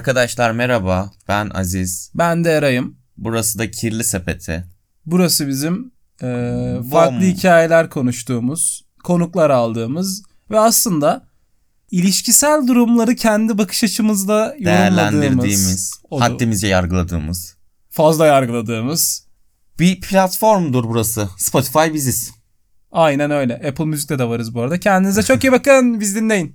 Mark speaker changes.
Speaker 1: Arkadaşlar merhaba, ben Aziz.
Speaker 2: Ben de Eray'ım.
Speaker 1: Burası da Kirli Sepeti.
Speaker 2: Burası bizim e, farklı hikayeler konuştuğumuz, konuklar aldığımız ve aslında ilişkisel durumları kendi bakış açımızla yorumladığımız,
Speaker 1: Değerlendirdiğimiz,
Speaker 2: o da-
Speaker 1: haddimizce yargıladığımız.
Speaker 2: fazla yargıladığımız.
Speaker 1: Bir platformdur burası. Spotify biziz.
Speaker 2: Aynen öyle. Apple Müzik'te de varız bu arada. Kendinize çok iyi bakın. Biz dinleyin.